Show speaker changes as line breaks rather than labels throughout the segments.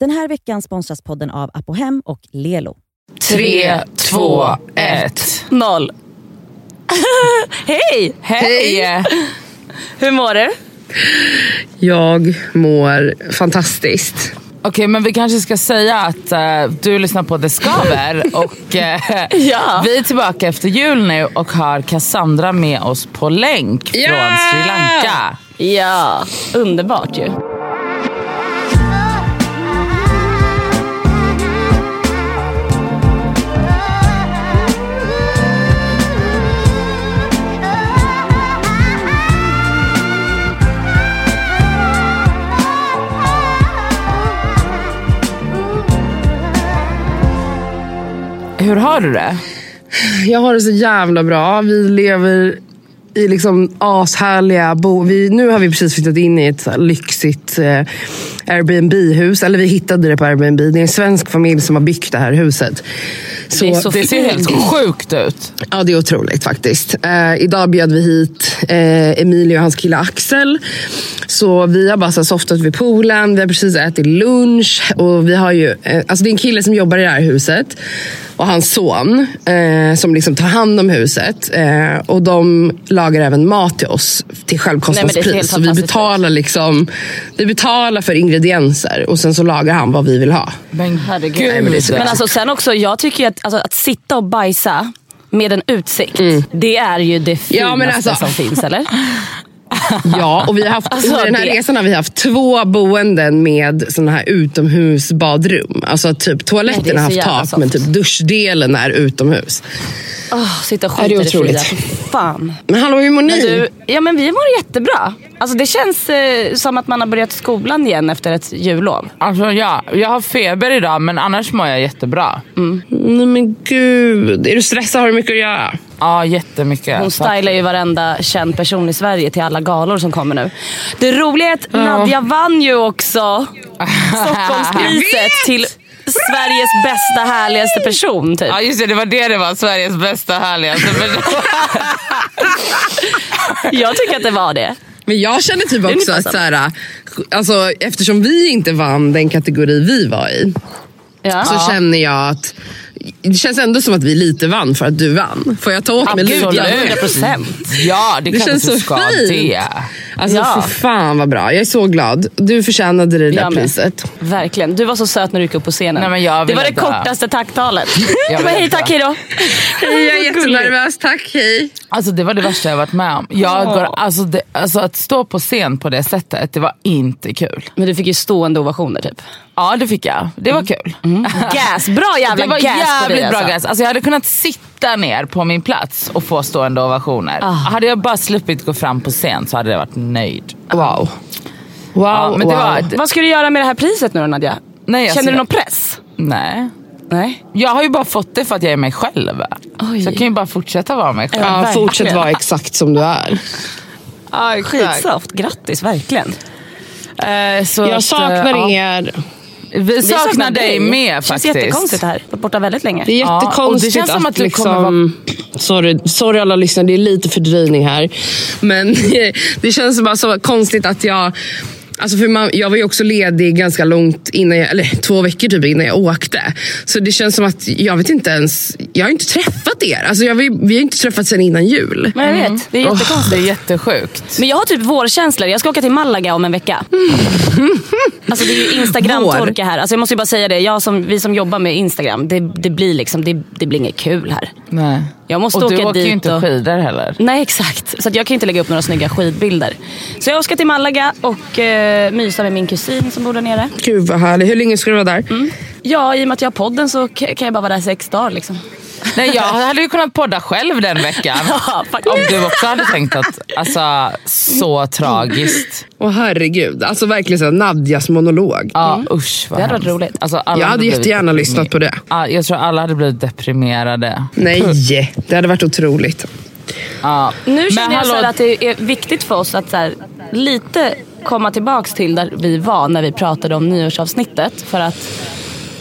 Den här veckan sponsras podden av Apohem och Lelo.
Tre, två, ett.
Noll. Hej!
Hej!
Hur mår du?
Jag mår fantastiskt. Okej, men vi kanske ska säga att eh, du lyssnar på The Skaver och eh,
Ja.
vi är tillbaka efter jul nu och har Cassandra med oss på länk från Sri Lanka.
Ja, underbart ju.
Hur har du det?
Jag har det så jävla bra. Vi lever i liksom ashärliga bo... Vi, nu har vi precis flyttat in i ett så här lyxigt eh, Airbnb-hus. Eller vi hittade det på Airbnb. Det är en svensk familj som har byggt det här huset. Så,
Det är så
Det ser helt sjukt ut.
Ja, det är otroligt faktiskt. Eh, idag bjöd vi hit eh, Emilio och hans kille Axel. Så vi har bara så här softat vid poolen, vi har precis ätit lunch. Och vi har ju, eh, alltså det är en kille som jobbar i det här huset och hans son eh, som liksom tar hand om huset. Eh, och de lagar även mat till oss till självkostnadspris.
Nej, men det är helt
så vi
fantastiskt.
betalar, liksom, vi betalar för ingredienser och sen så lagar han vad vi vill ha.
Men
Herregud.
gud.
Nej, men det är så-
Men alltså sen också, jag tycker ju att, alltså, att sitta och bajsa med en utsikt, det är ju det finaste
Mm. men alltså-
som finns eller?
Ja, och vi har haft,
Alltså,
under den här
det-
resan har vi haft två boenden med såna här utomhusbadrum. Alltså typ
Nej, det
toaletten har
är så
haft
jävla
tak,
soft.
men typ duschdelen är utomhus.
Oh, sitta och
Ja,
skita
det är
i det fria.
otroligt. Mm.
Fy Fan.
Men hallå, hur mår ni?
Men du, ja men vi mår jättebra. Alltså det känns eh, som att man har börjat skolan igen efter ett jullov.
Alltså, ja, jag har feber idag men annars mår jag jättebra.
Nej men gud, är du stressad? Har du mycket att göra?
Ja, jättemycket.
Hon stylar ju varenda känd person i Sverige till alla galor som kommer nu. Det roliga är att Nadja vann ju också Stockholmspriset till Sveriges bästa härligaste person. Typ.
Ja just det, det var det det var. Sveriges bästa Alltså, härligaste person.
Jag tycker att det var det.
Men jag känner typ
är
också
ungefär
att så här, alltså, eftersom vi inte vann den kategori vi var i,
Ja.
så känner jag att det känns ändå som att vi lite vann för att du vann. Får jag ta åt mig
Absolut.
lite?
Ja, 100%.
Ja,
Det
det, kanske
känns
du
så
ska
fint.
det.
Alltså
Ja.
för fan vad bra. Jag är så glad. Du förtjänade det där
Jag med.
priset.
Verkligen. Du var så söt när du gick upp på scenen.
Nej, men jag
det var det
ville dö.
kortaste tacktalet.
Jag
Du bara,
ville
hej tack,
dö.
hej då.
Hej, jag är
Vad gulligt.
jättenervös. Tack, hej.
Alltså det var det värsta jag varit med om. Jag
Åh.
går, alltså, det, alltså att stå på scen på det sättet, det var inte kul.
Men du fick ju stående ovationer typ.
Ja det fick jag, det var kul.
Gas, bra Mm. jävla
Det var
gas på
jävligt
dig,
bra
alltså.
gas. Alltså jag hade kunnat sitta ner på min plats och få stående ovationer. Hade jag bara sluppit gå fram på scen så hade jag varit nöjd.
Wow. Wow,
Ja, men det
wow.
var-
Vad ska du göra med det här priset nu då Nadja?
Nej, jag
Känner
ser-
du någon press?
Nej.
Nej.
Jag har ju bara fått det för att jag är mig själv.
Oj.
Så jag kan ju bara fortsätta vara mig själv.
Ja,
verkligen.
fortsätt vara exakt som du är.
Ja,
Skitsoft, grattis verkligen. Eh,
så
Jag
att,
saknar
ja.
er.
Vi saknar, dig med
Det känns
faktiskt.
jättekonstigt det här. Jag har varit borta väldigt länge.
Det är
Ja, och det
jättekonstigt
känns som
att,
att du
liksom...
kommer vara-
Sorry, sorry alla lyssnare, det är lite fördrivning här. Men det känns bara så konstigt att jag... Alltså för man, jag var ju också ledig ganska långt innan jag, eller två veckor typ innan jag åkte. Så det känns som att jag vet inte ens, jag har inte träffat er. Alltså jag, vi, vi har inte träffats sedan innan jul.
Men jag vet,
Mm.
det är jättekonstigt.
Åh, det är jättesjukt.
Men jag har typ vårkänslor. Jag ska åka till Malaga om en vecka. Alltså det är ju Instagram-torka här. Alltså jag måste ju bara säga det. Jag som, vi som jobbar med Instagram, det, det blir liksom, det, det blir inget kul här.
Nej.
Jag måste
och du
åka
åker
dit
ju inte
och-
skidor heller.
Nej exakt, så att jag kan ju inte lägga upp några snygga skidbilder. Så jag ska till Malaga och eh, mysa med min kusin som bor där nere.
Gud vad härligt, hur länge ska du vara där?
Ja, i och med att jag har podden så k- kan jag bara vara där sex dagar liksom.
Nej, jag hade ju kunnat podda själv den veckan.
Ja, faktiskt.
Om du också hade tänkt att, alltså så tragiskt.
Åh herregud, alltså verkligen så här, Nadjas monolog.
Ja usch vad
Mm. Det hade varit
hemskt.
roligt.
Alltså, alla
jag hade
blivit
jättegärna
deprimer-
lyssnat på det.
Ja, jag tror alla hade blivit deprimerade.
Nej, det hade varit otroligt.
Ja.
Nu känner jag
hallå,
så här att det är viktigt för oss att så här, lite komma tillbaks till där vi var när vi pratade om nyårsavsnittet. För att,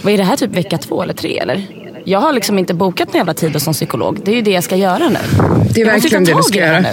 vad är det här typ vecka två eller tre eller? Jag har liksom inte bokat någon jävla tid som psykolog. Det är ju det jag ska göra nu.
Det är
Jag måste ju
verkligen
ta
det du
tag
ska
i här
göra.
nu.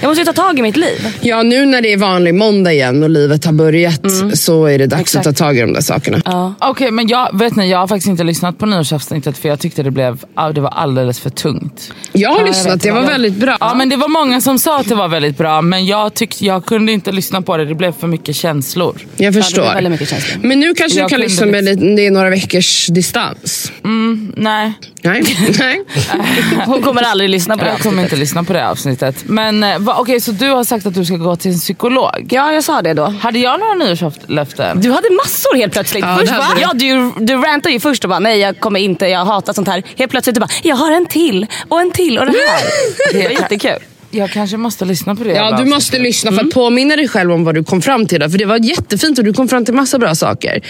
Jag måste ju ta tag i mitt liv.
Ja, nu när det är vanlig måndag igen och livet har börjat
Mm.
så är det dags att ta tag i de där sakerna.
Okej, men jag, vet ni, jag har faktiskt inte lyssnat på nyårsavsnittet för jag tyckte det, blev, ah, det var alldeles för tungt.
Jag har lyssnat, det var väldigt bra.
Ja, men det var många som sa att det var väldigt bra men jag tyckte jag kunde inte lyssna på det. Det blev för mycket känslor.
Jag förstår.
väldigt mycket känslor.
men nu kanske du kan
Jag kunde
lyssna med lite, det är några veckors distans.
Mm, nej,
Nej, nej.
Hon kommer aldrig lyssna på det.
jag kommer inte lyssna på det avsnittet. Men eh, va- okej, så du har sagt att du ska gå till en psykolog.
Ja, jag sa det då.
Hade jag några nyårslöften?
Du hade massor helt plötsligt.
Ja,
först,
det
va?
hade du.
ja, du, du rantade ju först och bara nej jag kommer inte, jag hatar sånt här. Helt plötsligt du bara jag har en till och en till och det här. Det var jättekul.
Jag kanske måste lyssna på det. jävla
Ja, du
avsnittet.
måste lyssna för att påminna dig själv om vad du kom fram till. Då, för det var jättefint och du kom fram till massa bra saker.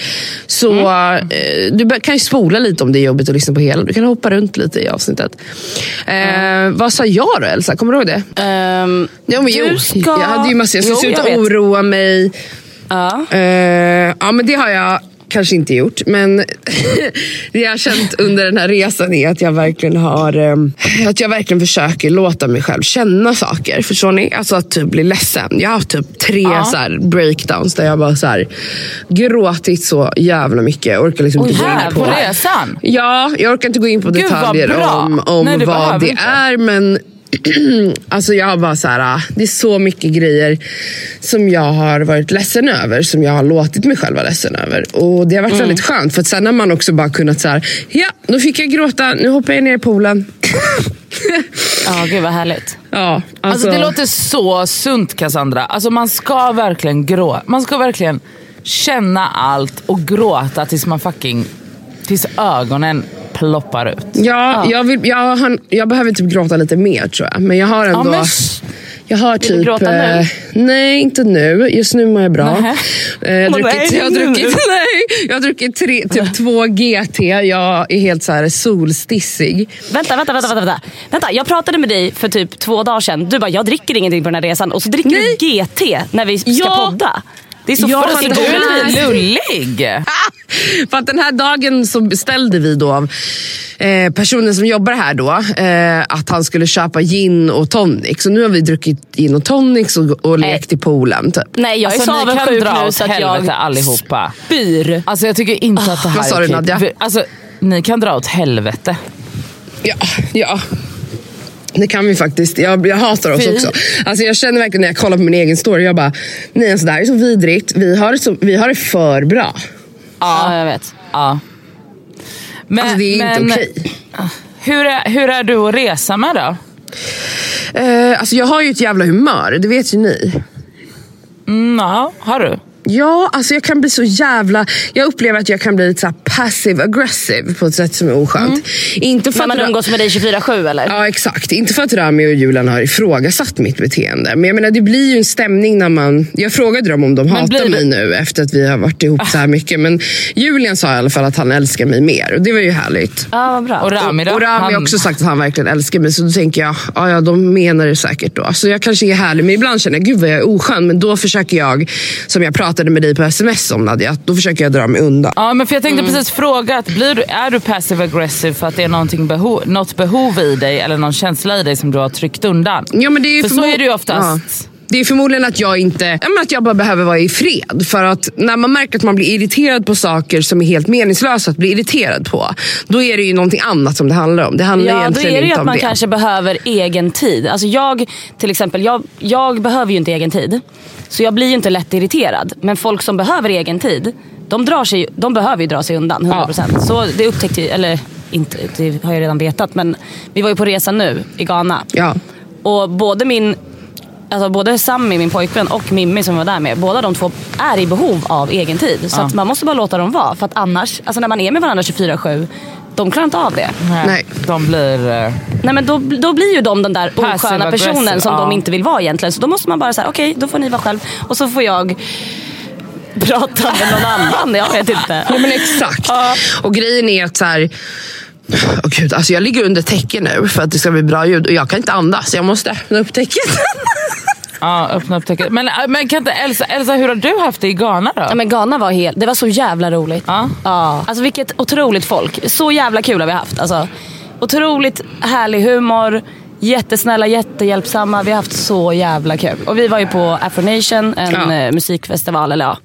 Så eh, du bör- kan ju spola lite om det är jobbigt att lyssna på hela. Du kan hoppa runt lite i avsnittet. Eh, vad sa jag då Elsa? Kommer du ihåg det?
Ehm,
Ja, men, jo,
Du ska-
Jag hade ju massor. Jag ska
Jo,
sluta
jag vet.
oroa mig.
ja.
Eh, ja, men det har jag kanske inte gjort, men det jag har känt under den här resan är att jag verkligen har eh, att jag verkligen försöker låta mig själv känna saker. Förstår ni? Alltså att typ bli ledsen. Jag har haft typ tre så här breakdowns där jag bara så här, gråtit så jävla mycket. Jag orkar liksom inte gå
Här
in
på
på
resan.
Ja, jag orkar inte gå in på
Gud, vad
detaljer
bra.
om, om
Nej, du behöver
vad det
inte.
är, men alltså jag har bara så här, ah, det är så mycket grejer som jag har varit ledsen över, som jag har låtit mig själv vara ledsen över. Och det har
Mm.
varit väldigt skönt, för att sen har man också bara kunnat så här, ja, nu fick jag gråta, nu hoppar jag ner i poolen.
ja, gud vad härligt.
ja,
Alltså, det låter så sunt Cassandra. Alltså man ska verkligen grå. Man ska verkligen känna allt och gråta tills man fucking, tills ögonen ploppar ut.
Ja, Jag, vill, jag, har, jag behöver typ gråta lite mer tror jag. Men jag har ändå...
men sh-
jag har typ...
du gråta nu?
eh, Nej, inte nu. Just nu mår jag bra.
Nähä.
Eh, Jag har
Åh,
druckit,
nej,
jag har
nu.
druckit, nej, jag har druckit tre, typ två GT. Jag är helt så här solstissig.
Vänta, vänta, vänta, vänta, vänta. vänta. Jag pratade med dig för typ två dagar sedan. Du bara jag dricker ingenting på den här resan och så dricker du GT när vi ska
Ja.
podda. Det är så
Ja,
Alltså,
men
du
det
är
här-
lite lullig.
För att den här dagen så beställde vi då av eh, personen som jobbar här då eh, att han skulle köpa gin och tonic. Så nu har vi druckit gin och tonic och,
Eh.
och lekt i poolen. Typ.
Nej jag är så
Alltså, ni kan
avundsjuk
dra
nu
åt
så att jag
helvete allihopa.
spyr.
Alltså jag tycker inte att det här
vad sa
är
du,
okej.
Nadja?
Vi- Alltså, ni kan dra åt helvete.
Ja, ja. Det kan vi faktiskt. Jag, jag hatar oss
Fy.
också. Alltså jag känner verkligen när jag kollar på min egen story, jag bara, nej alltså det här är så vidrigt. Vi har det, så, vi har det för bra.
Ja, jag vet.
Ja. Men,
Alltså det är inte
men
okej.
hur, är, hur är du att resa med då?
Eh, alltså jag har ju ett jävla humör, det vet ju ni.
Mm, ja, har du?
Ja, alltså jag kan bli så jävla... Jag upplever att jag kan bli lite så här passive aggressive på ett sätt som är oskönt. Inte för
När man
att
umgås med dig 24-7 eller?
Ja exakt, inte för att Rami och Julian har ifrågasatt mitt beteende. Men jag menar det blir ju en stämning när man... Jag frågade dem om de hatar
blir
mig nu efter att vi har varit ihop så här mycket. Men Julian sa i alla fall att han älskar mig mer och det var ju härligt.
Ja, vad bra.
Och Rami då?
Och Rami har
Han-
också sagt att han verkligen älskar mig, så då tänker jag, ja, ja de menar det säkert då. Så jag kanske är härlig, men ibland känner jag, gud vad jag är oskön. Men då försöker jag, som jag pratade med dig på sms om Nadja, att då försöker jag dra mig undan.
Ja, men för jag tänkte precis fråga, att blir du, är du passive aggressive för att det är någonting behov, något behov i dig eller någon känsla i dig som du har tryckt undan?
Ja, men det är ju
för så
förmo-
är det ju oftast.
Ja. Det är förmodligen att jag inte, ja, men att jag bara behöver vara i fred. För att när man märker att man blir irriterad på saker som är helt meningslösa att bli irriterad på, då är det ju någonting annat som det handlar om. Det handlar
Ja, då
egentligen
är det ju
inte
att
om
man
det.
kanske behöver egen tid. Alltså jag, till exempel, jag, jag behöver ju inte egen tid. Så jag blir ju inte lätt irriterad. Men folk som behöver egen tid, de, drar sig, de behöver ju dra sig undan 100%. Så det upptäckte ju, eller inte, det har jag redan vetat. Men vi var ju på resa nu i Ghana.
Ja.
Och både min Alltså både Sammy, min pojkvän, och Mimmi som jag var där med, båda de två är i behov av egen tid. Så
Ja.
att man måste bara låta dem vara. För att annars, alltså när man är med varandra 24-7, de klarar inte av det.
Nej.
De blir... eh,
Nej men då, då blir ju de den där
Passive
osköna
aggressive,
personen som
ja.
de inte vill vara egentligen. Så då måste man bara säga okej då får ni vara själv och så får jag prata med någon annan. Jag vet inte.
Ja, men exakt. Och grejen är att så här, Åh gud, alltså jag ligger under täcken nu för att det ska bli bra ljud och jag kan inte andas. Jag måste öppna upp täcket.
Ja, öppna upp täcket. Men, eh, men kan inte Elsa, Elsa, hur har du haft det i Ghana då?
Ja, men Ghana var helt, det var så jävla roligt.
Ja.
Alltså vilket otroligt folk. Så jävla kul har vi haft. Alltså, otroligt härlig humor, Jättesnälla, jättehjälpsamma. Vi har haft så jävla kul. Och vi var ju på Afronation, en
Ja.
eh, musikfestival. Eller ja.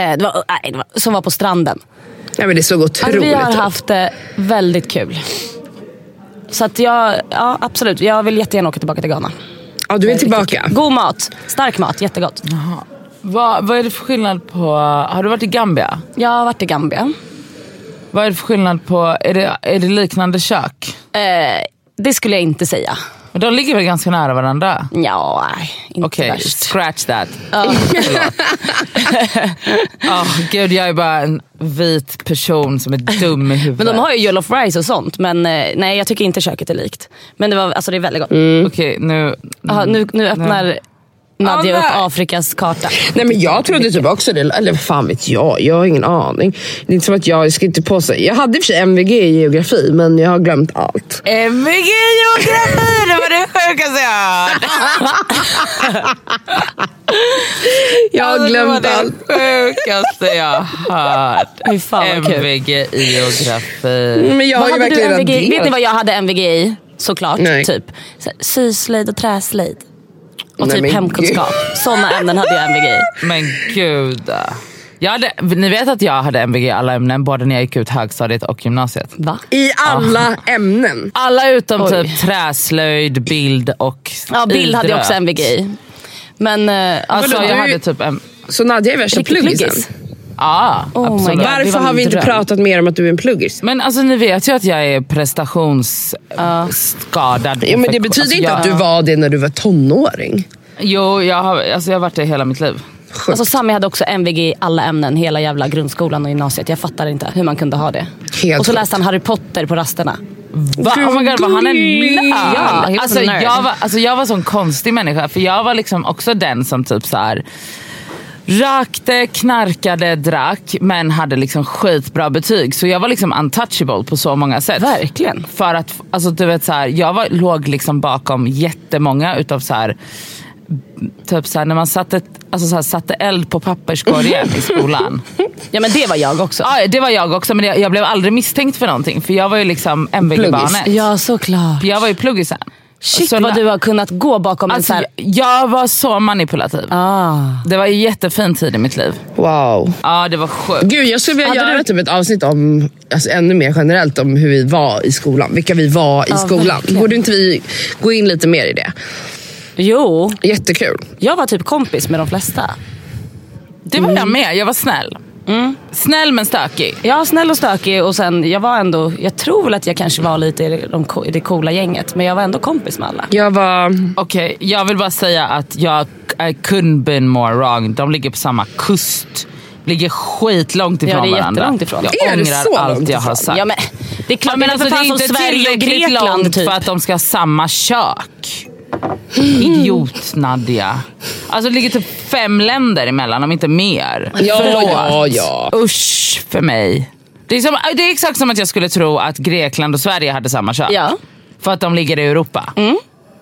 Eh, Det var, nej, det var, som var på stranden.
Ja, men det såg
Alltså,
otroligt
vi har
ut.
haft det väldigt kul. Så att jag, ja absolut. Jag vill jättegärna åka tillbaka till Ghana.
Ja, du är tillbaka.
God mat, stark mat, jättegott.
Vad, vad är det för skillnad på... Har du varit i Gambia?
Jag har varit i Gambia.
Vad är det för skillnad på... Är det, är det liknande kök?
Eh, det skulle jag inte säga.
Men de ligger väl ganska nära varandra?
Ja, nej, inte
Okej,
värst.
scratch that. Åh gud, jag är bara en vit person som är dum i huvudet.
Men de har ju jollof rice och sånt. Men eh, nej, jag tycker inte köket är likt. Men det, var, alltså, det är väldigt gott.
Okej, nu...
Aha, nu, nu öppnar Nadja
Ah,
upp
nej.
Afrikas karta.
Nej men jag trodde typ också det, eller vad fan vet jag, jag har ingen aning. Det är inte som att jag, jag ska inte påstå, jag hade i och för sig MVG i geografi men jag har glömt allt.
Eh,
MVG Eh, geografi, det var det sjukaste jag har hört.
Jag har
Alltså,
glömt
det var
allt.
det sjukaste jag har hört.
Fy fan vad kul.
MVG i geografi.
Men jag
Vad
har ju
hade du
verkligen
MVG? Vet ni
raderat.
vad jag hade MVG i? Såklart.
Nej.
Typ. Så- Syslöjd och träslöjd. Och
Nej,
typ
men
hemkunskap. Sådana ämnen hade jag MVG i.
Men gud. eh. Jag hade, ni vet att jag hade MVG i alla ämnen, både när jag gick ut högstadiet och gymnasiet.
Va?
I alla
Ah.
ämnen.
Alla utom
Oj.
typ träslöjd, bild och
Ja, bild hade jag också
idrott.
MVG i. Men eh,
Alltså
Vadå,
jag
du-
hade typ en...
Så Nadja är värsta
Riktig
pluggisen.
pluggis.
Ja,
Oh my
absolut.
God.
Varför
var
har
min
vi inte
dröm.
pratat mer om att du är en pluggis?
Men alltså ni vet ju att jag är prestationsskadad.
Ja, men det
Infektion-
betyder
alltså,
inte
jag,
att du var det när du var tonåring.
Jo, jag har, alltså, jag har varit det hela mitt liv.
Sjukt.
Alltså Sami hade också MVG i alla ämnen, hela jävla grundskolan och gymnasiet. Jag fattar inte hur man kunde ha det.
Helt
och så
sjukt.
läste han Harry Potter på rasterna.
Va? Oh my god, vad han är nörd!
Ja, helt
alltså,
nörd.
jag var, alltså, jag var sån konstig människa, för jag var liksom också den som typ så här rökte, knarkade, drack, men hade liksom skitbra betyg. Så jag var liksom untouchable på så många sätt.
Verkligen.
För att, alltså du vet så här, jag var, låg liksom bakom jättemånga utav så här Typ såhär när man satte, alltså så här, satte eld på papperskorgen i skolan.
Ja men det var jag också.
Ja, det var jag också men jag, jag blev aldrig misstänkt för någonting för jag var ju liksom MVG-barnet.
Ja såklart.
Jag var ju pluggisen.
Shit
Så
vad
la-
du har kunnat gå bakom en
Alltså,
sån här...
jag, jag var så manipulativ.
Ah.
Det var en jättefin tid i mitt liv.
Wow.
Ja, det var sjukt.
Gud, jag skulle vilja
Hade
göra
du-
typ ett avsnitt om, alltså ännu mer generellt om hur vi var i skolan. Vilka vi var i skolan.
verkligen.
Borde inte vi gå in lite mer i det?
Jo,
Jättekul.
jag var typ kompis med de flesta.
Det var
Mm.
jag med. Jag var snäll. Snäll men stökig.
Jag var snäll och stökig och sen jag var ändå, jag tror väl att jag kanske var lite i de, co- i det coola gänget men jag var ändå kompis med alla.
Jag var...
Okej, jag vill bara säga att jag I couldn't been more wrong. De ligger på samma kust. Ligger skitlångt ifrån
Ja, det är
varandra.
jättelångt ifrån.
Jag
Är det
ångrar
så
allt
långt
jag har
ifrån?
sagt.
Ja, men, det är klart,
Ja, men
det är
alltså, det
för fan
är
som
inte
Sverige och
tillräckligt
Grekland
långt
typ.
för att de ska ha samma kök. Idiot Nadja. Alltså det ligger typ fem länder emellan om inte mer.
Ja,
Förlåt.
ja, ja.
Usch för mig. Det är, som, äh, det är exakt som att jag skulle tro att Grekland och Sverige hade samma kök.
Ja.
För att de ligger i Europa.
Mm.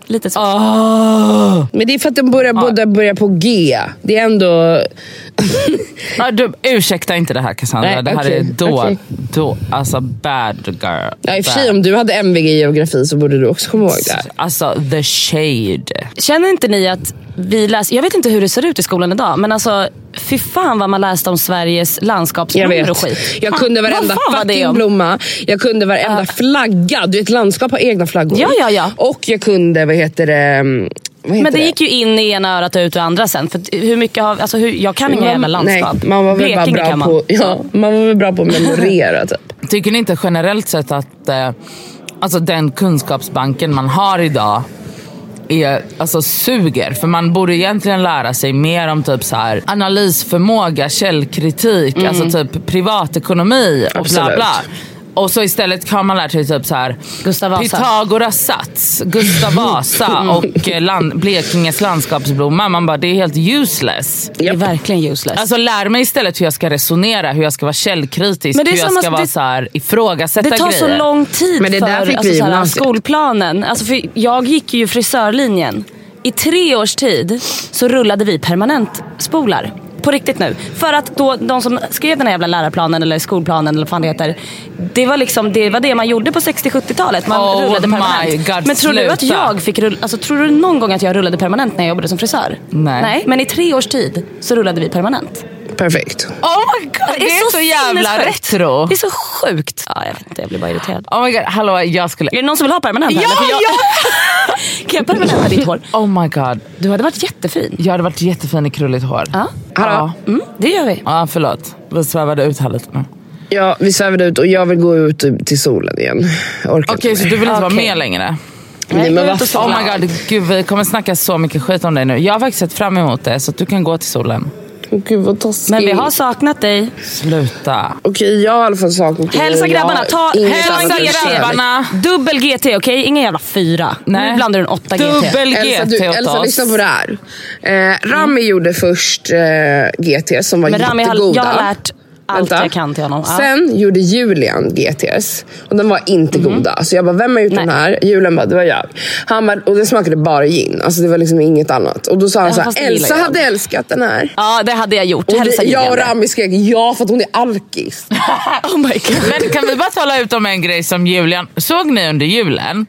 Lite så.
Ah.
Men det är för att de börjar, båda börjar på G. Det är ändå...
Ja, du, ursäkta inte det här Cassandra.
Nej,
det här
okej,
är då,
okej.
då, alltså bad girl.
Ja, i och för sig,
Bad.
om du hade MVG i geografi så borde du också komma ihåg det.
Alltså the shade.
Känner inte ni att vi läser, jag vet inte hur det ser ut i skolan idag men alltså fy fan vad man läste om Sveriges
Jag
landskapsblommor och skit.
vet. Jag kunde varenda
vad fan var det
fucking
om?
blomma. Jag kunde varenda flagga. Du vet, landskap har egna flaggor.
Ja, ja, ja.
Och jag kunde, vad heter det... mm, Vad heter
Men det gick ju in i ena örat och ut ur andra sen. För att hur mycket har, alltså hur, jag kan inga jävla landskap.
Nej, man var väl bara
Blekinge
bra
kan man.
på, ja, man var väl bra på att memorera typ.
Tycker ni inte generellt sett att eh, alltså den kunskapsbanken man har idag är, alltså suger? För man borde egentligen lära sig mer om typ så här, analysförmåga, källkritik, alltså typ privatekonomi och bla
Absolut.
bla. Och så istället har man lärt sig typ så här,
Gustav Vasa.
Pythagoras sats, Gustav Vasa och eh, land, Blekinges landskapsblomma. Man bara, det är helt useless.
Det är
Japp.
verkligen useless.
Alltså lär mig istället hur jag ska resonera, hur jag ska vara källkritisk,
Men det är
hur jag
samma-
ska vara
det-
så här, ifrågasätta
Det tar
grejer.
så lång tid
Men det
för
där fick vi
alltså,
i
så här,
gymnasiet.
skolplanen. Alltså, för jag gick ju frisörlinjen. I tre års tid så rullade vi permanent spolar. På riktigt nu. För att då, de som skrev den här jävla lärarplanen eller skolplanen eller vad fan det heter. Det var, liksom, det var det man gjorde på 60-70-talet. Man
Oh
rullade
my
permanent.
God,
Men tror du att
sluta.
jag fick rulla, alltså, tror du någon gång att jag rullade permanent när jag jobbade som frisör?
Nej.
Nej men i tre års tid så rullade vi permanent.
Perfekt.
Oh my god, det är så jävla
sinnessjukt.
retro.
Det är så sjukt. Ja, jag vet inte, jag blir bara irriterad.
Oh my god, hallå jag skulle...
Är det någon som vill ha permanent? eller? För jag- Kan jag permanenta ditt hår?
Oh my god,
Du hade varit jättefin.
jag hade varit jättefin i krulligt hår.
Ja.
Ja,
Mm, det gör vi.
ja förlåt. Vi svävade ut här lite nu.
Ja, vi svävade ut och jag vill gå ut till solen igen. Jag Orkar
Okej,
inte
så du vill inte vara
Okej.
med längre?
Nej, men vad
Oh my god, gud, vi kommer snacka så mycket skit om dig nu. Jag har faktiskt sett fram emot det, så att du kan gå till solen.
mer. Gud vad taskigt.
Men vi har saknat dig.
Sluta.
Okej, jag har i alla fall saknat dig.
Hälsa
Jag har
grabbarna. Ta,
inget
hälsa
annat än
grabbarna.
kärlek.
Dubbel GT, okej? Ingen jävla fyra. Nu blandar du en åtta GT.
Dubbel
Elsa,
GT
du,
åt
Elsa
oss.
lyssna på det här. Eh, Rami gjorde först eh, GT som var
Mm. Men Rami, har-
jättegoda.
jag har lärt allt jag kan till honom. Ja.
Sen gjorde Julian GTS och den var inte goda. Så jag bara, vem har gjort
Mm. Nej.
den här? Julian bara, det var jag. Han bara, och den smakade bara gin. Alltså det var liksom inget annat. Och då sa han
Ja,
så här,
fast det gillar
Elsa
jag.
hade älskat den här.
Ja, det hade jag gjort.
Och
Hälsa
vi, jag och
Julian.
Rami skrek ja för att hon är alkis.
Oh my god.
Men kan vi bara tala ut om en grej som Julian... Såg ni under julen?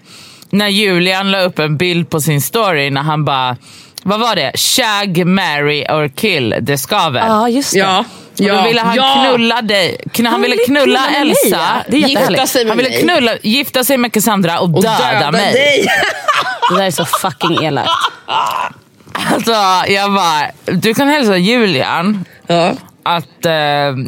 När Julian la upp en bild på sin story när han bara... Vad var det? Shag, marry or kill. Det skaver.
Ja, just det.
Och då ville han knulla dig. Kn- han,
Han
ville
ville
knulla
knulla med mig,
Elsa.
ja. Det är jättehärligt.
gifta sig med han ville
mig.
knulla, gifta sig med Cassandra och,
och
döda, mig.
dig.
Det där är så fucking elakt.
Alltså, jag bara, du kan hälsa Julian
ja.
att eh,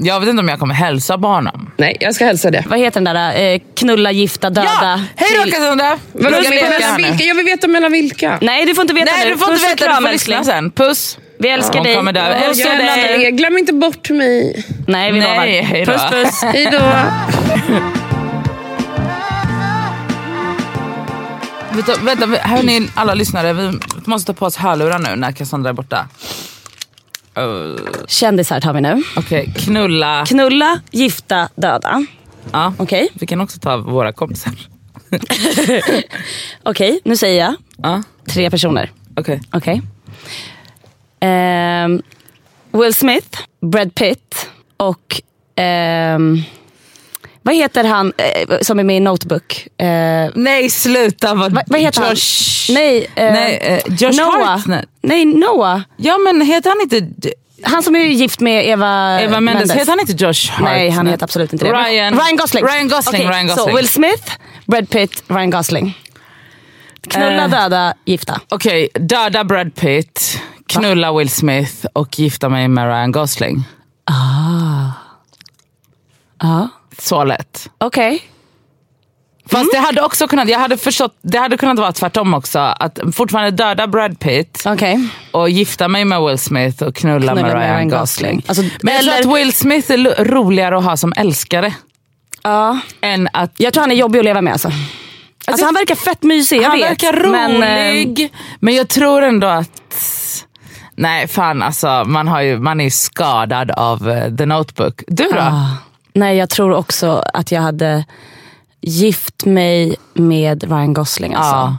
jag vet inte om jag kommer hälsa på honom.
Nej, jag ska hälsa det.
Vad heter den där? Eh, knulla, gifta,
Ja,
döda.
hej då Cassandra!
Vadå,
Lugna ner
mellan
här nu.
vilka? Jag vill veta mellan vilka.
Nej, du får inte veta
Nej
nu.
du får inte
Puss och
veta, du
kram,
får
älskling.
lyssna sen. Puss!
Vi älskar
Hon
dig.
kommer dö.
Puss och
Älskar
kram.
dig.
Nej, Glöm inte bort mig.
Nej, vi
Nej, hej då.
lovar. Puss, puss.
Hej då.
Vänta, vänta hörni alla lyssnare, vi måste ta på oss hörlurar nu när Cassandra är borta. Uh,
Kändisar tar vi nu.
Okej, knulla.
Knulla, gifta, döda.
Ja.
Okej.
Vi kan också ta våra kompisar.
Okej, nu säger jag
Ja,
tre personer.
okej.
Okej. Ehm, Will Smith, Brad Pitt och... ehm, vad heter han eh, som är med i Notebook? Eh,
Nej sluta! Vad,
vad, vad heter
Josh.
han? Nej, eh,
Nej, eh, Josh
Noah.
Hartnett.
Nej, Noah.
Ja men heter han inte
Han som är gift med Eva,
Eva Eh, Mendes, heter han inte Josh Hartnett?
Nej, han heter absolut inte det.
Ryan,
Ryan Gosling.
Ryan Gosling,
Okej,
Ryan Gosling.
Så Will Smith, Brad Pitt, Ryan Gosling. Knulla,
Eh.
döda, gifta.
Okej, döda Brad Pitt, knulla Will Smith och gifta mig med Ryan Gosling. Ah.
Ja.
Så lätt.
Okej.
Fast det hade också kunnat, jag hade förstått, det hade kunnat vara tvärtom också. Att fortfarande döda Brad Pitt
Okej.
och gifta mig med Will Smith och Ah. knulla, med Ryan, Gosling.
Alltså,
Men jag tror
eller-
att Will Smith är lo- roligare att ha som älskare
Ja.
än att
Jag tror han är jobbig att leva med alltså. Alltså, han verkar fett mysig, jag
han
vet.
verkar
men,
rolig.
eh,
Men, jag tror ändå att... Nej, fan alltså. Man, har ju, man är ju skadad av eh, The Notebook. Du då?
ah, nej, jag tror också att jag hade gift mig med Ryan Gosling alltså.
Ja.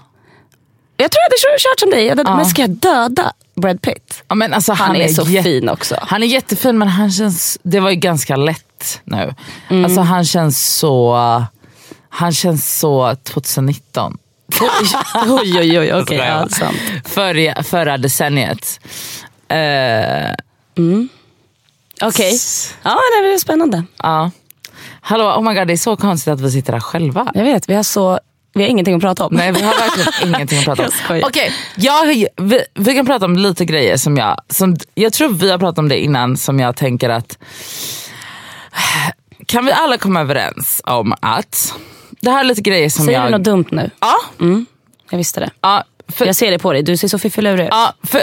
Jag tror jag hade kört, kört som dig. Jag hade,
Ja.
Men ska jag döda Brad Pitt?
Ja, men alltså,
Han, är, så
jä-
fin också.
Han är jättefin, men han känns... Det var ju ganska lätt nu.
Mm.
Alltså han känns så... Han känns så 2019.
oj, oj, oj. Okej,
Sådär,
ja,
va?
sant.
Alltså, Förra, förra decenniet. Eh,
Okej. Ja, det blir spännande.
ja. Hallå, oh my god, det är så konstigt att vi sitter här själva.
Jag vet, vi har, så, vi har ingenting att prata om.
Nej vi har verkligen ingenting att prata om.
Jag skojar.
Okej, jag, vi, vi kan prata om lite grejer som jag, som, jag tror vi har pratat om det innan som jag tänker att kan vi alla komma överens om att det här är lite grejer som
Säger
jag...
du något dumt nu?
ja,
Jag visste det.
ja, för,
Jag ser det på dig, du ser så fiffilurig ut.
ja, för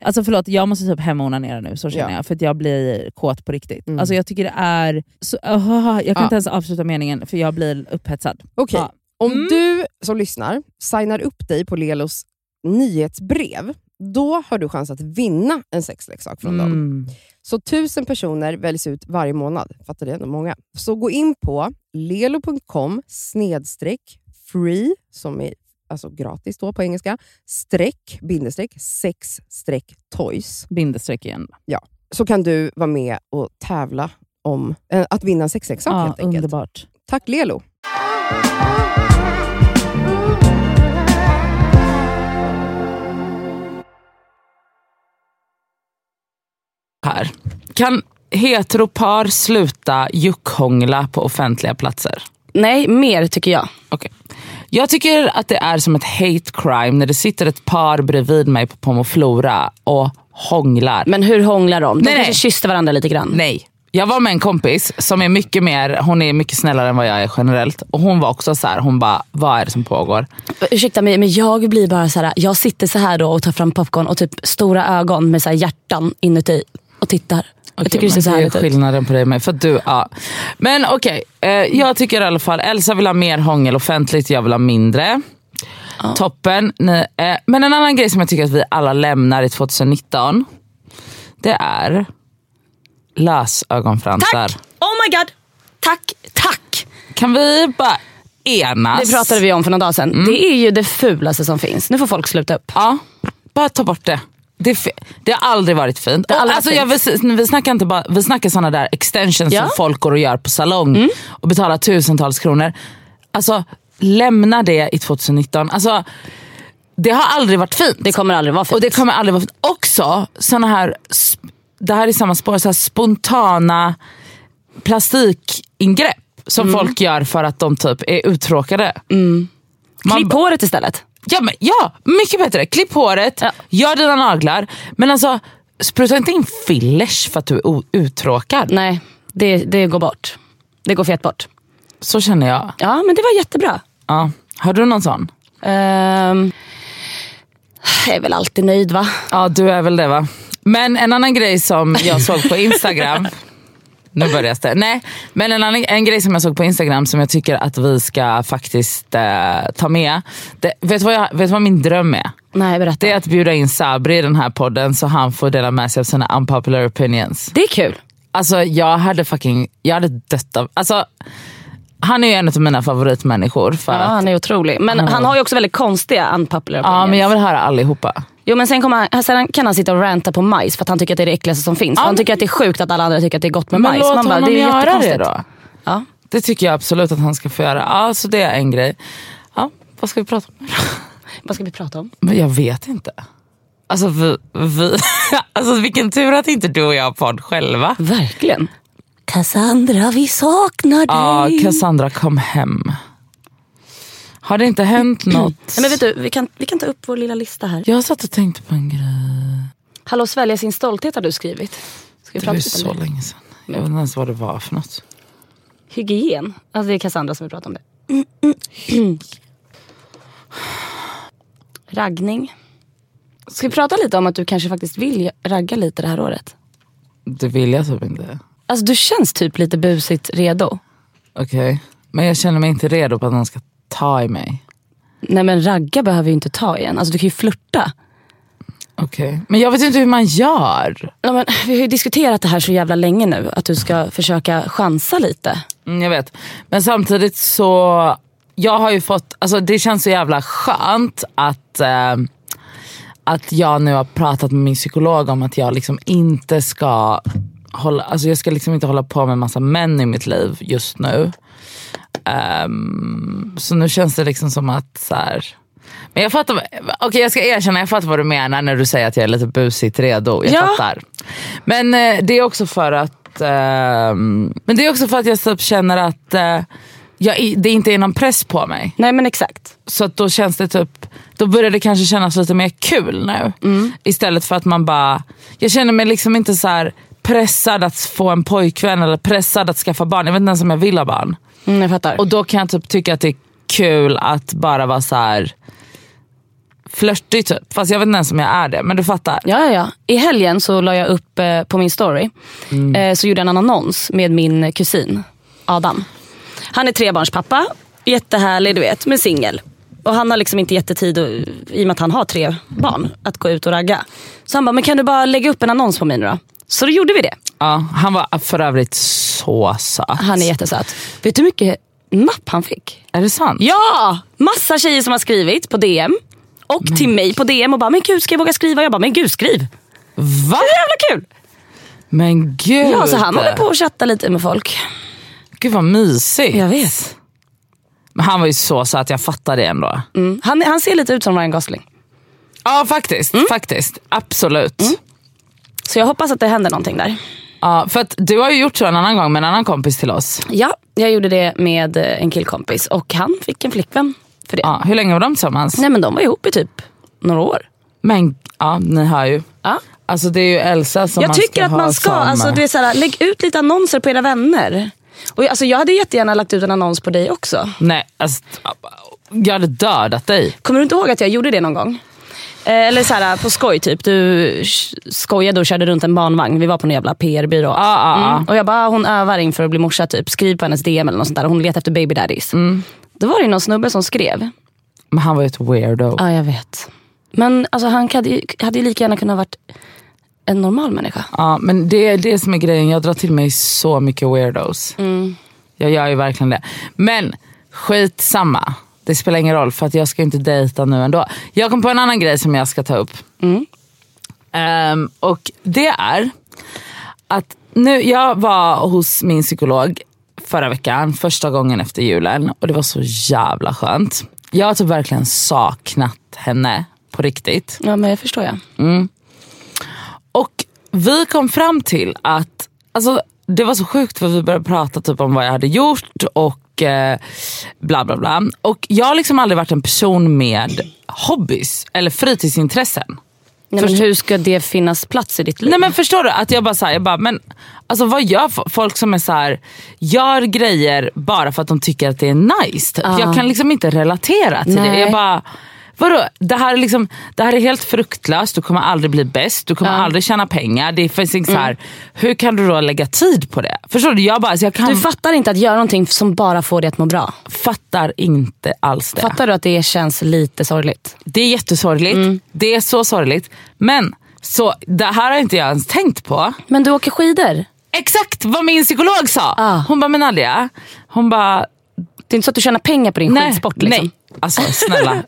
Alltså förlåt, jag måste typ hem och onanera nu, så känner
Ja.
jag. För att jag blir kåt på riktigt.
Mm.
Alltså jag tycker det är... Så, ah, jag kan
Ja.
inte ens avsluta meningen för jag blir upphetsad.
Okej,
Ja.
om
Mm.
du som lyssnar signar upp dig på Lelos nyhetsbrev, då har du chans att vinna en sexleksak från dem.
Mm.
Så tusen personer väljs ut varje månad. Fattar det? Det är många. Så gå in på lelo.com snedstreck free, som är alltså gratis då på engelska, streck, bindestreck, sex streck toys.
Bindestreck igen.
Så kan du vara med och tävla om eh, att vinna en sexleksak
Ja,
helt enkelt.
underbart.
Tack Lelo!
Här. Kan heteropar sluta juckhångla på offentliga platser?
Nej, mer tycker jag.
Okej. Jag tycker att det är som ett hate crime när det sitter ett par bredvid mig på Pomoflora och hånglar.
Men hur hånglar de? De
Nej,
kanske
nej.
kysste varandra lite grann.
Nej. Jag var med en kompis som är mycket mer, hon är mycket snällare än vad jag är generellt. Och hon var också så här, hon bara, vad är det som pågår?
Ursäkta mig, men jag blir bara så här. Jag sitter så här då och tar fram popcorn och typ stora ögon med så här hjärtan inuti och tittar. jag tycker det ser
men
så
är
härligt ut.
skillnaden på dig och mig. För att du, ja. Men okej, eh, jag tycker i alla fall Elsa vill ha mer hångel offentligt, jag vill ha mindre. Toppen. Ni, eh, men en annan grej som jag tycker att vi alla lämnar i 2019, det är lösögonfransar.
Tack! Oh my god! Tack, tack!
Kan vi bara enas.
Det pratade vi om för några dagar
Mm.
sedan. Det är ju det fulaste som finns. Nu får folk sluta upp.
Ja, bara ta bort det. Det, är fe- det har aldrig varit fint.
har aldrig
Och alltså,
varit
jag, vi, vi snackar, inte bara, vi snackar såna där extensions
Ja.
som folk går och gör på salong och betalar tusentals kronor. Alltså, lämna det i 2019. Alltså, det har aldrig varit fint.
Det kommer aldrig vara fint.
Och det kommer aldrig vara fint. Också såna här, sp- det här är samma spår, så här spontana plastikingrepp som folk gör för att de typ är uttråkade. Mm. Man
Klipp håret istället.
Ja, men, ja, mycket bättre. Klipp håret,
Ja.
gör dina naglar. Men alltså, spruta inte in fillers för att du är o- uttråkad.
Nej, det, det går bort. Det går fet bort.
Så känner jag.
Ja, men det var jättebra.
Ja. Har du någon sån?
Ehm, jag är väl alltid nöjd va?
Ja, du är väl det va? Men en annan grej som jag såg på Instagram. nu börjar det. Nej, men en, annan, en grej som jag såg på Instagram som jag tycker att vi ska faktiskt eh, ta med. Det, vet, du vad jag, vet du vad min dröm är?
Nej, berätta.
Det är
Det,
att bjuda in Sabri i den här podden så han får dela med sig av sina unpopular opinions.
är kul.
Alltså jag hade fucking, jag hade dött av, alltså han är ju en av mina favoritmänniskor för
Ja,
att,
han är otrolig. Men han har ju också väldigt konstiga unpopular
ja
opinions.
men jag vill höra allihopa.
Jo men sen, kommer han, sen kan han sitta och ranta på majs för att han tycker att det är det äckligaste som finns. han tycker att det är sjukt att alla andra tycker att det är gott med
Men
majs.
låt
Man bara,
honom
det är ju
göra det
jättekonstigt.
då.
Ja.
Det tycker jag absolut att han ska få göra. Ja, så det är en grej. Ja, vad ska vi prata om?
Vad ska vi prata om?
Men jag vet inte. Alltså, vi, vi, alltså vilken tur att inte du och jag har podd själva.
Verkligen. Cassandra vi saknar dig.
Ja, Cassandra kom hem. Har det inte hänt något?
Nej, men vet du, vi kan, vi kan ta upp vår lilla lista här.
Jag satt och tänkte på en grej.
Hallå svälja sin stolthet har du skrivit. Ska vi
Det var
prata
ju
lite
så
om det?
länge sedan. Jag vet inte ens vad det var för något.
Hygien. Alltså det är Cassandra som vill prata om det. Raggning. Ska vi prata lite om att du kanske faktiskt vill ragga lite det här året?
Det vill jag typ inte.
Alltså du känns typ lite busigt redo.
Okej. Men jag känner mig inte redo på att någon ska ta i mig.
Nej men ragga behöver ju inte ta igen. Alltså du kan ju flirta.
Okej. Men jag vet ju inte hur man gör.
Ja, men, vi har ju diskuterat det här så jävla länge nu. Att du ska försöka chansa lite.
Mm, jag vet. Men samtidigt så, jag har ju fått, alltså det känns så jävla skönt att, eh, att jag nu har pratat med min psykolog om att jag liksom inte ska hålla, alltså jag ska liksom inte hålla på med massa män i mitt liv just nu. Ehm, så nu känns det liksom som att så här. Men jag fattar, okej jag ska erkänna, jag fattar vad du menar när du säger att jag är lite busigt redo. Jag
Ja.
fattar. Men eh, det är också för att ehm, Men det är också för att jag typ känner att eh, jag, i- det inte är någon press på mig.
Nej men exakt.
Så att då känns det typ, då börjar det kanske kännas lite mer kul nu.
Mm.
Istället för att man bara, jag känner mig liksom inte så här pressad att få en pojkvän eller pressad att skaffa barn. Jag vet inte ens om jag vill ha barn.
Mm, jag fattar.
Och då kan jag typ tycka att det är kul att bara vara så här flörtig typ. Fast jag vet inte ens om jag är det. Men du fattar.
Ja, ja, ja. I helgen så la jag upp eh, på min story, eh, så gjorde jag en annons med min eh, kusin Adam. Han är trebarnspappa, jättehärlig du vet, men singel. Och han har liksom inte jättetid, och, i och med att han har tre barn, att gå ut och ragga. Så han bara, men kan du bara lägga upp en annons på mig nu då? Så då gjorde vi det.
Ja, han var för övrigt så söt.
Han är jättesöt. Vet du hur mycket napp han fick?
Är det sant?
Ja! Massa tjejer som har skrivit på DM. Och till mig på DM och bara, men gud ska jag våga skriva? Jag bara, men gud skriv!
Va?
Så jävla kul!
Men gud.
Ja, så han håller på och chattar lite med folk.
Gud vad mysigt.
Jag vet.
Men han var ju så söt, jag fattar det ändå.
Mm. Han, han ser lite ut som Ryan Gosling.
Ja faktiskt,
Mm.
faktiskt. Absolut.
Så jag hoppas att det händer någonting där.
Ja, för att du har ju gjort så en annan gång med en annan kompis till oss.
Ja, jag gjorde det med eh, en killkompis och han fick en flickvän för det.
Ja, hur länge var de tillsammans?
Nej men de var ihop i typ några år.
Men ja, ni hör ju.
Ja.
Alltså det är ju Elsa som
Jag
man
tycker
ska
att
ha
man ska,
som,
alltså, du är såhär, lägg ut lite annonser på era vänner. Och, jag- alltså, jag hade jättegärna lagt ut en annons på dig också.
Nej, alltså, jag hade dödat dig.
Kommer du inte ihåg att jag gjorde det någon gång? Eh, Eller så här, på skoj typ. Du sh- skojade och körde runt en barnvagn. Vi var på en jävla PR-byrå.
Ja, ja, ja.
Och jag bara, hon övar inför att bli morsa typ. Skriv på hennes DM eller något sånt där. Hon letar efter baby daddies. Då var det ju någon snubbe som skrev.
Men han var ju ett weirdo.
Ja, jag vet. Men alltså, han hade ju, hade ju lika gärna kunnat varit en normal människa.
Ja, men det är det som är grejen. Jag drar till mig så mycket weirdos. Jag gör ju verkligen det. Men Skitsamma. Det spelar ingen roll för att jag ska ju inte dejta nu ändå. Jag kom på en annan grej som jag ska ta upp. Ehm, och det är att nu, jag var hos min psykolog förra veckan, första gången efter julen och det var så jävla skönt. Jag har typ verkligen saknat henne på riktigt.
Ja, men jag förstår jag.
Och vi kom fram till att, alltså det var så sjukt för vi började prata typ om vad jag hade gjort och eh, bla bla bla. Och jag har liksom aldrig varit en person med hobbys eller fritidsintressen.
Nej, men hur ska det finnas plats i ditt liv?
Nej men förstår du? Att jag bara såhär, jag bara, men alltså vad gör fo- folk som är så här, gör grejer bara för att de tycker att det är nice? Typ. Jag kan liksom inte relatera till det.
Nej.
Jag bara, vadå? Det här, är liksom, det här är helt fruktlöst, du kommer aldrig bli bäst, du kommer aldrig tjäna pengar. Det finns inte
Mm.
så här, hur kan du då lägga tid på det? Förstår du? Jag bara, alltså, jag kan,
Du fattar inte att göra någonting som bara får dig att må bra.
fattar inte alls det.
Fattar Mm. du att det känns lite sorgligt?
Det är jättesorgligt, det är så sorgligt. Men så, det här har inte jag ens tänkt på.
Men du åker skidor.
Exakt vad min psykolog sa.
Ah.
Hon bara, men Nadia, hon bara,
Det är inte så att du tjänar pengar på din
nej,
skidsport. Liksom.
nej. Alltså snälla,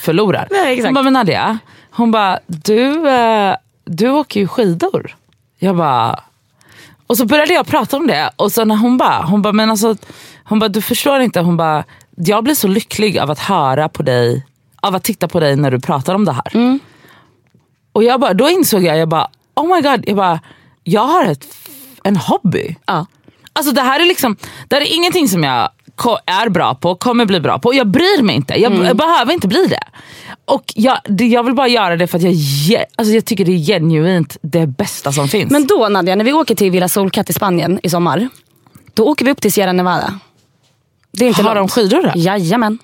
förlorar.
Nej, exakt.
Hon bara, men Nadia, hon bara, du, eh, du åker ju skidor. Jag bara, och så började jag prata om det och sen hon bara, hon bara, men alltså, hon bara, du förstår inte, hon bara, jag blir så lycklig av att höra på dig, av att titta på dig när du pratar om det här. Och jag bara, då insåg jag, jag bara, oh my god, jag bara, jag har ett, en hobby.
Ja.
Alltså det här är liksom, det här är ingenting som jag ko- är bra på, kommer bli bra på. Jag bryr mig inte, jag,
Mm.
jag behöver inte bli det. Och jag, det, jag vill bara göra det för att jag, ge- alltså jag tycker det är genuint det bästa som finns.
Men då Nadja, när vi åker till Villa Solkat i Spanien i sommar. Då åker vi upp till Sierra Nevada. Det är inte
har de
långt.
skidor där?
Jajamän.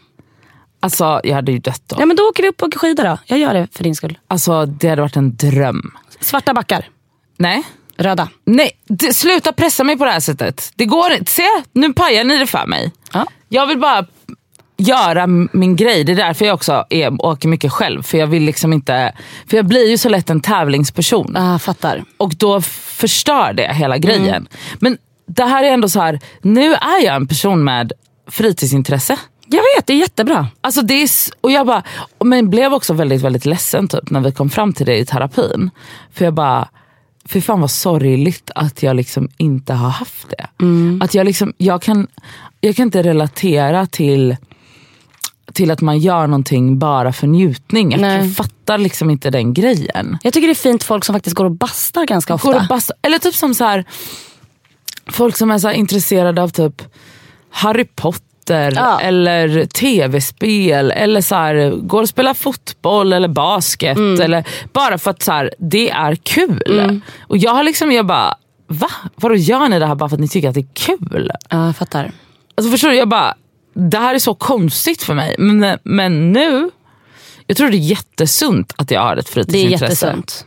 Alltså jag hade ju dött då.
Ja, men då åker vi upp och åker skidor då. Jag gör det för din skull.
Alltså det hade varit en dröm.
Svarta backar.
Nej,
Röda.
nej, d- sluta pressa mig på det här sättet. Det går inte, se nu pajar ni det för mig.
Ja.
Jag vill bara göra m- min grej. Det är därför jag också är, åker mycket själv. För jag vill liksom inte, för jag blir ju så lätt en tävlingsperson.
Ah, fattar.
Och då förstör det hela grejen. Men det här är ändå så här, nu är jag en person med fritidsintresse.
Jag vet, det är jättebra.
Alltså det är, s- och jag bara, men blev också väldigt, väldigt ledsen typ, när vi kom fram till det i terapin. För jag bara, fy fan vad sorgligt att jag liksom inte har haft det.
Mm.
Att jag, liksom, jag, kan, jag kan inte relatera till, till att man gör någonting bara för njutning. Jag
Nej.
fattar liksom inte den grejen.
Jag tycker det är fint folk som faktiskt går och bastar ganska ofta.
Går och basta. Eller typ som så här, folk som är så här intresserade av typ Harry Potter
Ja.
eller tv-spel eller så här, går och spelar fotboll eller basket.
Mm.
Eller, bara för att så här, det är kul. Och jag har liksom, jag bara, va? Vadå gör ni det här bara för att ni tycker att det är kul?
Ja, Ah, fattar.
Alltså förstår du, jag bara, det här är så konstigt för mig. Men, men nu, jag tror det är jättesunt att jag har ett
Det är
fritidsintresse.
jättesunt.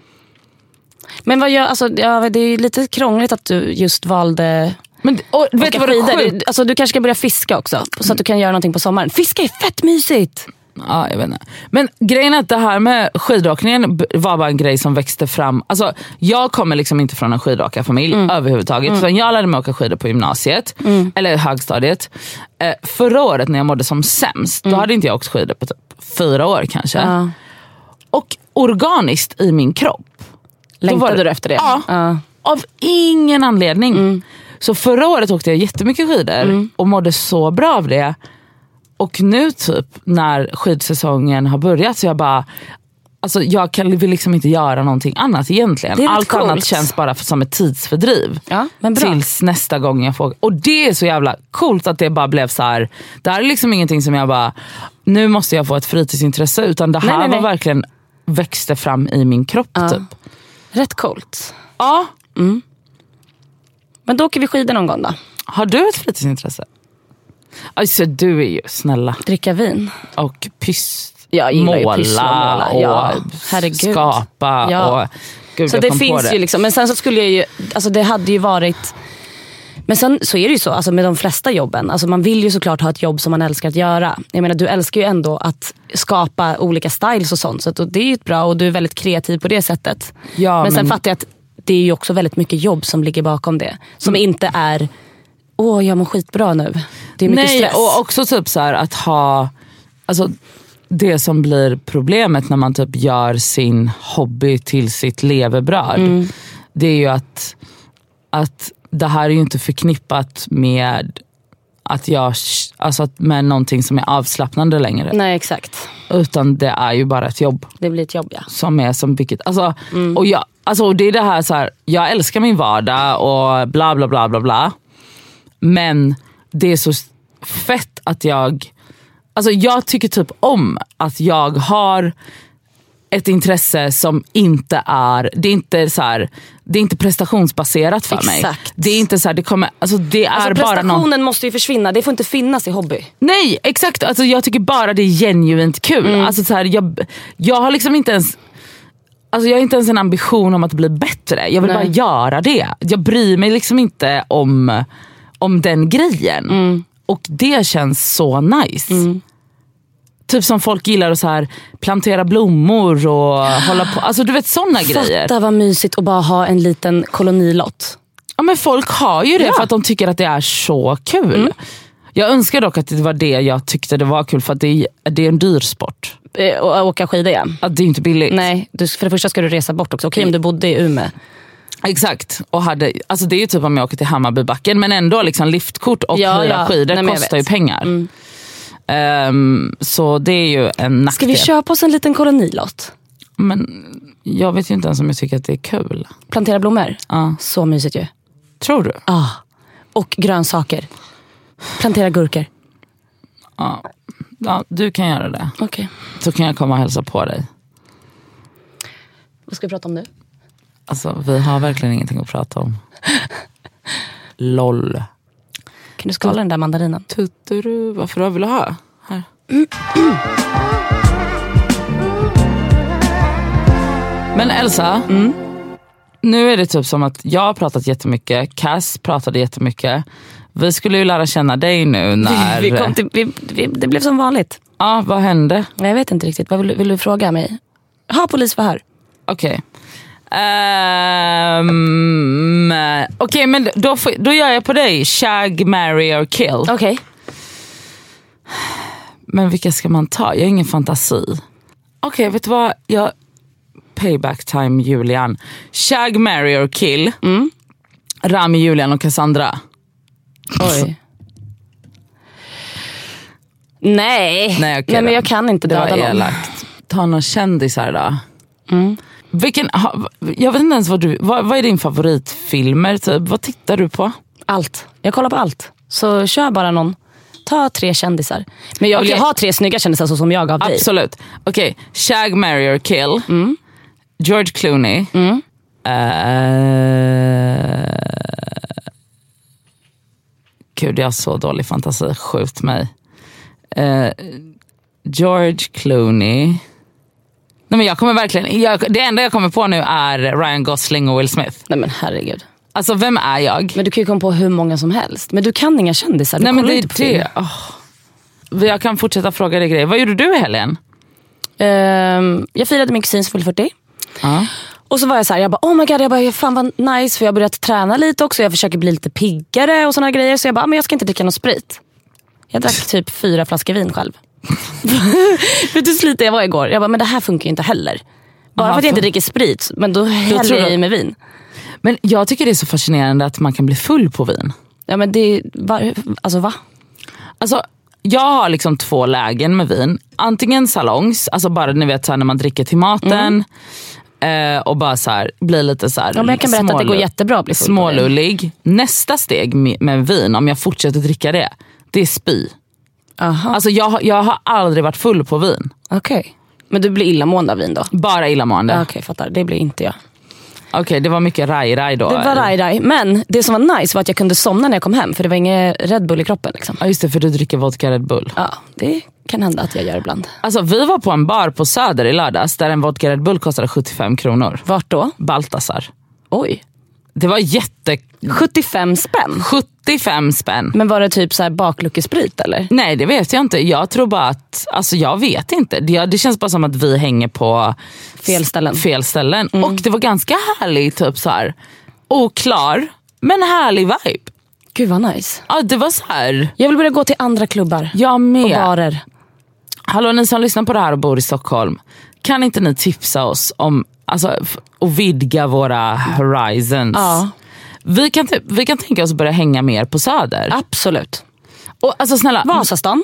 Men vad gör, alltså, ja, det är lite krångligt att du just valde
Men, och, vet du
åka
vad det är
skidor.
sjukt?
Du, alltså, du kanske ska börja fiska också, så att du kan göra någonting på sommaren. Fiska är fett mysigt!
Ja, jag vet inte. Men grejen är att det här med skidåkningen b- var bara en grej som växte fram. Alltså, jag kommer liksom inte från en skidåkarfamilj överhuvudtaget. Utan jag lärde mig åka skidor på gymnasiet, eller högstadiet. Eh, förra året när jag mådde som sämst, då hade inte jag åkt skidor på typ fyra år kanske.
Ja.
Och organiskt i min kropp var
Längtade
det-
du efter det? Mm.
Ja. av ingen anledning. Så förra året åkte jag jättemycket skidor och mådde så bra av det. Och nu typ när skidsäsongen har börjat så jag bara, alltså jag kan, vill liksom inte göra någonting annat
Det är
egentligen.
rätt
Allt annat
coolt.
känns bara som ett tidsfördriv.
Ja, men bra.
Tills nästa gång jag får Och det är så jävla coolt att det bara blev så här. det här är liksom ingenting som jag bara, nu måste jag få ett fritidsintresse. Utan det här
nej,
var
nej.
verkligen växte fram i min kropp typ.
Rätt coolt.
Ja,
Men då åker vi skidor någon gång då.
Har du ett fritidsintresse? Alltså du är ju snälla
Dricka vin.
och pyss.
Ja, jag gillar ju
måla,
pyssla och måla. Ja,
och
herregud.
skapa.
Ja.
Och, gud,
Så
jag
det
kom på
finns ju liksom. Men sen så skulle jag ju, alltså det hade ju varit men sen så är det ju så alltså med de flesta jobben. Alltså man vill ju såklart ha ett jobb som man älskar att göra. Jag menar Du älskar ju ändå att skapa olika styles och sånt. Så att, och det är ju ett bra och du är väldigt kreativ på det sättet.
Ja,
men sen
men-
fattar jag att det är ju
Mm.
också väldigt mycket jobb som ligger bakom det. Som inte är, åh jag mår skitbra nu. Det Det är mycket
Nej,
stress.
och också typ så här att ha, alltså det som blir problemet när man typ gör sin hobby till sitt levebröd.
Mm.
Det är ju att, att det här är ju inte förknippat med att jag, alltså att- med någonting som är avslappnande längre.
Nej exakt,
Utan det är ju bara ett jobb
det blir ett jobb ja.
som är som vilket. Alltså,
Mm.
och jag, alltså, och det är det här, så här, jag älskar min vardag och bla bla bla bla bla. Men det är så fett att jag, alltså jag tycker typ om att jag har ett intresse som inte är, det är inte så här, det är inte prestationsbaserat för mig.
Exakt.
Det är inte så här, det kommer, alltså det är
Alltså,
bara
prestationen
något.
måste ju försvinna, det får inte finnas i hobby.
Nej exakt, alltså, jag tycker bara det är genuint kul. Alltså, så här, jag, jag har liksom inte ens Alltså jag har inte ens en ambition om att bli bättre. Jag vill
Nej.
bara göra det. Jag bryr mig liksom inte om, om den grejen. Och det känns så nice. Typ som folk gillar att så här, plantera blommor och hålla på. Alltså du vet sådana grejer.
Fatta vad mysigt att bara ha en liten kolonilott.
Ja men folk har ju det för att de tycker att det är så kul.
Mm.
Jag önskar dock att det var det jag tyckte det var kul för att det är, det är en dyr sport.
Eh, Och och åka skidor ja.
Att det är inte billigt.
Nej, du, för det första ska du resa bort också. Okej om du bodde i Umeå.
Exakt. Och hade, alltså det är ju typ om jag åker till Hammarbybacken men ändå liksom liftkort och
Ja,
hyra
ja.
skidor
Nej, men jag
kostar ju
vet. Mm.
pengar. Ehm, så det är ju en
Ska
nackdel.
vi köpa oss en liten kolonilott?
men jag vet ju inte ens om jag tycker att det är kul.
Plantera blommor?
Ja.
Så mysigt ju.
Tror du?
Ah. Och grönsaker. Plantera gurkor.
Ja, du kan göra det.
Okej.
Så kan jag komma och hälsa på dig.
Vad ska vi prata om nu?
Alltså vi har verkligen ingenting att prata om. LOL.
Kan du skala den där mandarinen?
Tutturu, varför då? Vill du ha? Här. Men Elsa, nu är det typ som att jag har pratat jättemycket, Cass pratade jättemycket. Vi skulle ju lära känna dig nu när...
Vi kom till, vi, vi, det blev som vanligt.
Ja, vad hände?
Jag vet inte riktigt. Vad vill, du- vill du fråga mig? Ha polisförhör.
Okej. Ehm, Okej, men då, får, då gör jag på dig. Shag, marry or kill.
Okej.
Men vilka ska man ta? Jag har ingen fantasi. Okej, vet du vad? Jag... Payback time Julian. Shag, marry or kill. Rami, Julian och Cassandra.
Oj. Nej.
Nej, okej
men
då.
jag kan inte
Det
döda
var
någon.
elakt. Ta några kändisar då. Vilken, ha, jag vet inte ens vad du... Vad, vad är din favoritfilmer? Typ? Vad tittar du på?
Allt. Jag kollar på allt. Så kör bara någon. Ta tre kändisar. Men jag vill ju
Okej.
ha tre snygga kändisar så som jag gav dig. Mm.
Absolut. Okej, Shag, marry or kill. George Clooney. Eh, Gud, jag har så dålig fantasi. Skjut mig. Eh, George Clooney. Nej, men jag kommer verkligen, jag, det enda jag kommer på nu är Ryan Gosling och Will Smith.
Nej men herregud.
Alltså vem är jag?
Men du kan ju komma på hur många som helst. Men du kan inga kändisar. Du
Nej men
kollar
det
inte på
är det. Oh. Jag kan fortsätta fråga dig grejer. Vad gjorde du i helgen?
film. Ehm, jag firade min kusins full 40. Och så var jag så här, jag bara oh my god, jag bara, fan vad nice för jag har börjat träna lite också. Jag försöker bli lite piggare och såna här grejer. Så jag bara, ah, men jag ska inte dricka någon sprit. Jag drack typ fyra flaskor vin själv. Vet du hur sliten jag var igår? Jag bara, men det här funkar ju inte heller. Bara
Aha,
för att jag inte
för-
dricker sprit, men då häller
tror
jag
du-
i mig vin.
Men jag tycker det är så fascinerande att man kan bli full på vin.
Ja men det, var, alltså va?
Alltså, jag har liksom två lägen med vin. Antingen salongs, alltså bara ni vet så här, när man dricker till maten. Eh, och bara så här, blir lite så här,
Ja, men jag kan berätta att det går
smålu-
jättebra att bli full på vin.
Smålullig. Nästa steg med, med vin, om jag fortsätter dricka det, det är spy.
Aha.
Alltså jag, har- jag har aldrig varit full på vin.
Okej. Men du blir illamående av vin då?
Bara illamående.
Ja, Okej, fattar. Det blir inte jag.
Okej, det var mycket raj-raj då.
Det var
eller?
raj-raj. Men det som var nice var att jag kunde somna när jag kom hem för det var ingen Red Bull i kroppen. Liksom.
Ja just det, för du dricker vodka Red Bull.
Ja, det kan hända att jag gör ibland.
Alltså vi var på en bar på Söder i lördags där en vodka Red Bull kostade 75 kronor.
Vart då?
Baltasar.
Oj.
Det var jätte...
75 spänn.
75 spänn.
Men var det typ så här bakluckesprit eller?
Nej det vet jag inte. Jag tror bara att, alltså jag vet inte. Det, det känns bara som att vi hänger på
Fel ställen. Mm.
fel ställen. Och det var ganska härlig typ så här. oklar men härlig vibe.
Gud vad nice.
Ja, det var så här.
Jag vill börja gå till andra klubbar
Jag
och
med.
barer.
Hallå ni som lyssnar på det här och bor i Stockholm. Kan inte ni tipsa oss om alltså, f- och vidga våra horizons?
Ja.
Vi, kan, typ- vi kan tänka oss att börja hänga mer på Söder.
Absolut.
Och, alltså snälla,
Vasastan.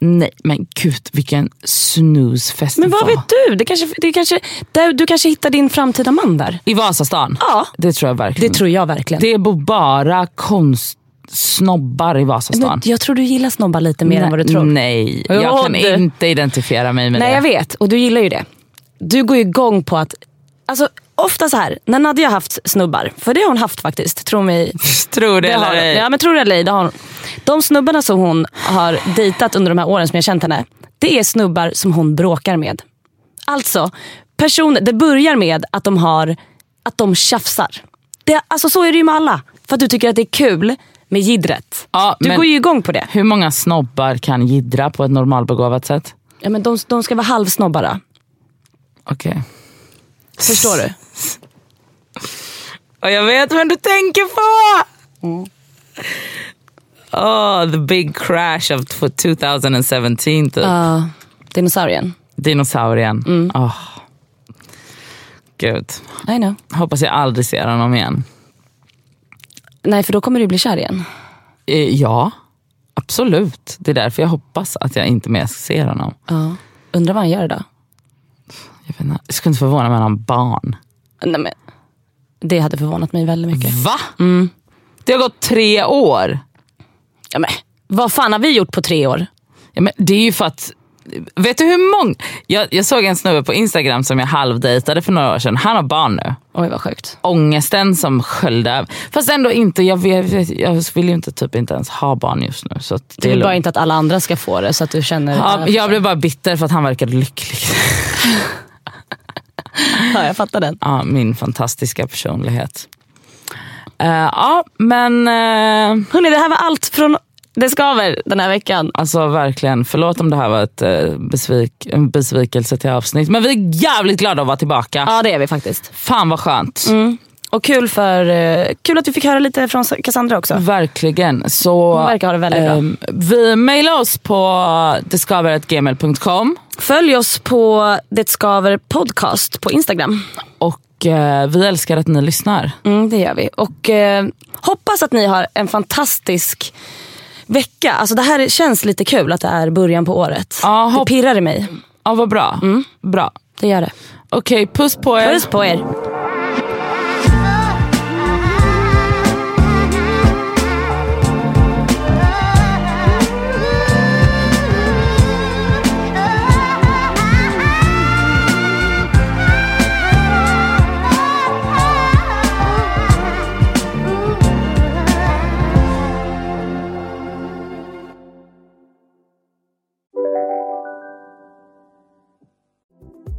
nej men gud vilken snoozefest
Men
det
vad
var.
vet du? Det kanske, det kanske, där, du kanske hittar din framtida man där.
I Vasastan?
Ja.
Det tror jag
Det
verkligen.
tror jag verkligen.
Det bor bara konstsnobbar i
men
Vasastan.
jag tror du gillar snobbar lite mer än vad du tror.
Nej, jag
Jo,
kan
det-
inte identifiera mig med
Nej
det.
jag vet, och du gillar ju det. Du går ju igång på att, alltså ofta så här, när Nadja har haft snubbar, för det har hon haft faktiskt, tro mig.
Tror det,
Det
eller
har,
ej.
ja men tror det eller ej, det har hon. De snubbarna som hon har dejtat under de här åren som jag har känt henne, det är snubbar som hon bråkar med. Alltså, personer, det börjar med att de har att de tjafsar. Det, alltså så är det ju med alla. För att du tycker att det är kul med jiddret.
Ja,
du
men-
går ju igång på det.
Hur många snobbar kan jiddra på ett normalbegåvat sätt?
Ja, men de, de ska vara halvsnobbara.
Okej.
Förstår du?
Och jag vet vem du tänker på! Mm. Oh, the big crash of tw- 2017 typ.
Uh, dinosaurien.
Dinosaurien. Oh. Gud,
I know.
hoppas jag aldrig ser honom igen.
Nej, för då kommer du bli kär igen.
Eh, ja, absolut. Det är därför jag hoppas att jag inte mer ser honom.
Ja. Undrar vad han gör idag?
Jag, vet inte, jag skulle inte förvåna mig om han har barn.
Nej, men, det hade förvånat mig väldigt mycket.
Va? Mm. Det har gått tre år.
Ja, men, vad fan har vi gjort på tre år?
Ja, men det är ju för att... Vet du hur många... Jag, jag såg en snubbe på Instagram som jag halvdejtade för några år sedan. Han har barn nu.
Oj, vad sjukt.
Ångesten som sköljde över. Fast ändå inte. Jag, vet, jag vill ju inte, typ, inte ens ha barn just nu. Så att
Du
det är
vill bara
lugnt.
inte att alla andra ska få det så att du känner...
ja, jag blev bara bitter för att han verkade lycklig.
ja, jag fattar den.
ja, min fantastiska personlighet. Eh, ja, men... eh,
Hörrni, det här var allt från Det skaver den här veckan.
Alltså verkligen, förlåt om det här var ett, eh, besvik, en besvikelse till avsnitt. Men vi är jävligt glada att vara tillbaka.
Ja, det är vi faktiskt.
Fan vad skönt.
Och kul, för, eh, kul att vi fick höra lite från Cassandra också.
Verkligen. Så,
Hon verkar ha det väldigt bra.
ehm, Vi mejlar oss på discover.gmail.com
Följ oss på Det skaver podcast på Instagram.
och eh, vi älskar att ni lyssnar.
Mm, det gör vi. Och eh, hoppas att ni har en fantastisk vecka. Alltså det här känns lite kul att det är början på året.
Ja,
det
hopp-
pirrar i mig.
Ja, vad bra. Bra.
Det gör det.
Okej, puss på er.
Mm. Puss på er.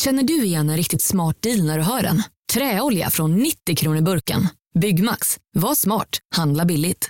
Känner du igen en riktigt smart deal när du hör den? Träolja från 90 kronor burken. Byggmax, var smart, handla billigt.